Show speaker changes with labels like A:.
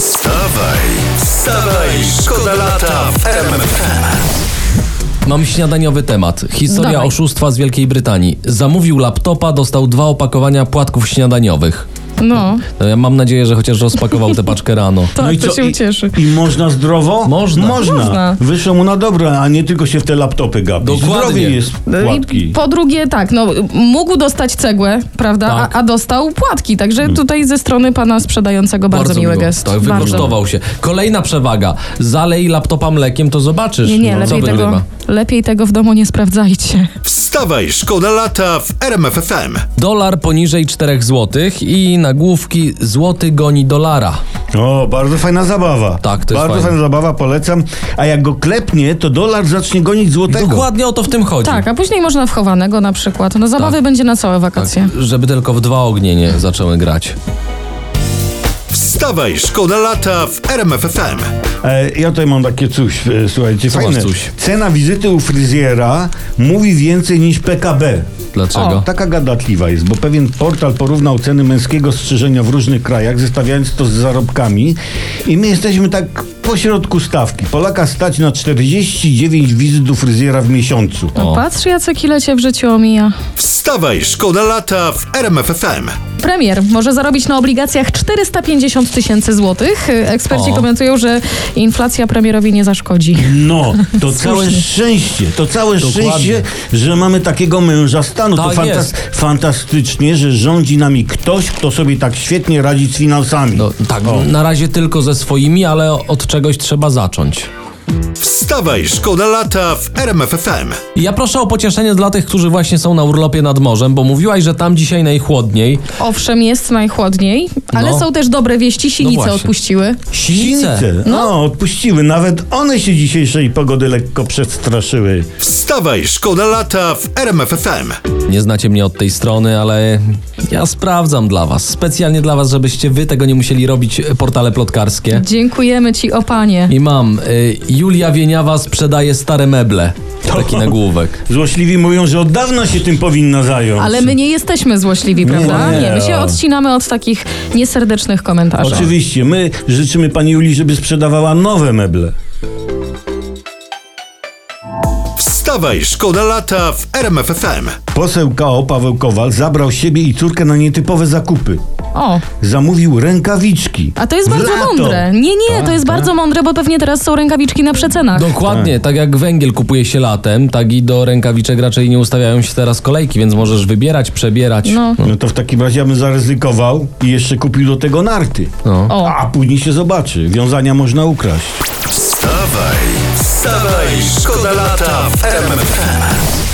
A: Wstawaj, wstawaj, szkoda lata w RMFFM.
B: Mam śniadaniowy temat. Historia
C: Dawaj.
B: oszustwa z Wielkiej Brytanii. Zamówił laptopa, dostał dwa opakowania płatków śniadaniowych.
C: No,
B: No, Ja mam nadzieję, że chociaż rozpakował tę paczkę rano.
C: tak, to się
D: No I,
C: ucieszy.
D: I można zdrowo?
B: Można.
D: Można.
C: Można.
D: Wyszło mu na dobre, a nie tylko się w te laptopy gapi.
B: Dokładnie.
D: Zdrowie jest
C: No I
D: płatki.
C: po drugie, tak, no, mógł dostać cegłę, prawda?
B: Tak. Hmm.
C: A, a dostał płatki, także tutaj ze strony pana sprzedającego bardzo, miły
B: miło.
C: gest.
B: Tak,
C: bardzo.
B: wykosztował się. Kolejna przewaga. Zalej laptopa mlekiem, to zobaczysz, No,
C: Nie, nie,
B: co
C: lepiej tego,
B: wygrywa.
C: lepiej tego w domu nie sprawdzajcie.
B: Znaczy-
A: Wstawaj, szkoda lata w RMFFM.
B: Dolar poniżej 4 zł i nagłówki Złoty goni dolara.
D: O, bardzo fajna zabawa.
B: Tak, to jest
D: Bardzo
B: fajne.
D: fajna zabawa, polecam. A jak go klepnie, to dolar zacznie gonić złotego.
B: Dokładnie o to w tym chodzi.
C: Tak, a później można wchowanego na przykład. No zabawy
B: Tak.
C: będzie na całe wakacje.
B: Żeby tylko w dwa ognie nie zaczęły grać.
A: Wstawaj, szkoda lata w RMFFM.
D: E, ja tutaj mam takie coś, e, słuchajcie,
B: Co masz
D: fajne.
B: coś?
D: Cena wizyty u fryzjera mówi więcej niż PKB.
B: Dlaczego?
C: O,
D: Taka gadatliwa jest, bo pewien portal porównał ceny męskiego strzyżenia w różnych krajach, zestawiając to z zarobkami i my jesteśmy tak pośrodku stawki. Polaka stać na 49 wizyt do fryzjera w miesiącu.
C: no patrz Jacek, ile cię w życiu omija.
A: Wstawaj, szkoda lata w RMFFM.
C: Premier może zarobić na obligacjach 450 tysięcy złotych. Eksperci
B: O.
C: komentują, że inflacja premierowi nie zaszkodzi.
D: No, to całe szczęście, to całe
B: Dokładnie.
D: szczęście, że mamy takiego męża stanu.
B: Tak
D: to
B: jest.
D: fantastycznie, że rządzi nami ktoś, kto sobie tak świetnie radzi z finansami.
B: No, tak, na razie tylko ze swoimi, ale od czegoś trzeba zacząć.
A: Wstawaj, szkoda lata w RMFFM.
B: Ja proszę o pocieszenie dla tych, którzy właśnie są na urlopie nad morzem, bo mówiłaś, że tam dzisiaj najchłodniej.
C: Owszem, jest najchłodniej, ale
B: No.
C: są też dobre wieści. Sinice
B: właśnie.
C: odpuściły.
D: Sinice. No, odpuściły. Nawet one się dzisiejszej pogody lekko przestraszyły.
A: Wstawaj, szkoda lata w RMFFM.
B: Nie znacie mnie od tej strony, ale ja sprawdzam dla was. Specjalnie dla was, żebyście wy tego nie musieli robić e, portale plotkarskie.
C: Dziękujemy ci, o panie.
B: I mam, y, Julia Wieniawa sprzedaje stare meble. Taki nagłówek.
D: Złośliwi mówią, że od dawna się tym powinna zająć.
C: Ale my nie jesteśmy złośliwi, prawda?
B: no
D: nie.
C: Nie, my się odcinamy od takich nieserdecznych komentarzy.
D: Oczywiście, my życzymy pani Julii, żeby sprzedawała nowe meble.
A: Wstawaj, szkoda lata w RMFFM.
D: Poseł KO Paweł Kowal zabrał siebie i córkę na nietypowe zakupy.
C: O,
D: Zamówił rękawiczki.
C: a to jest
D: W
C: bardzo
D: lato.
C: mądre. Nie, nie,
B: Tak,
C: to jest bardzo mądre, bo pewnie teraz są rękawiczki na przecenach.
B: Dokładnie, tak jak węgiel kupuje się latem, tak i do rękawiczek raczej nie ustawiają się teraz kolejki, więc możesz wybierać, przebierać.
C: No,
D: No to w takim razie ja bym zaryzykował i jeszcze kupił do tego narty.
C: o.
D: A później się zobaczy. Wiązania można ukraść.
A: Wstawaj, wstawaj, szkoda lata w RMFFM.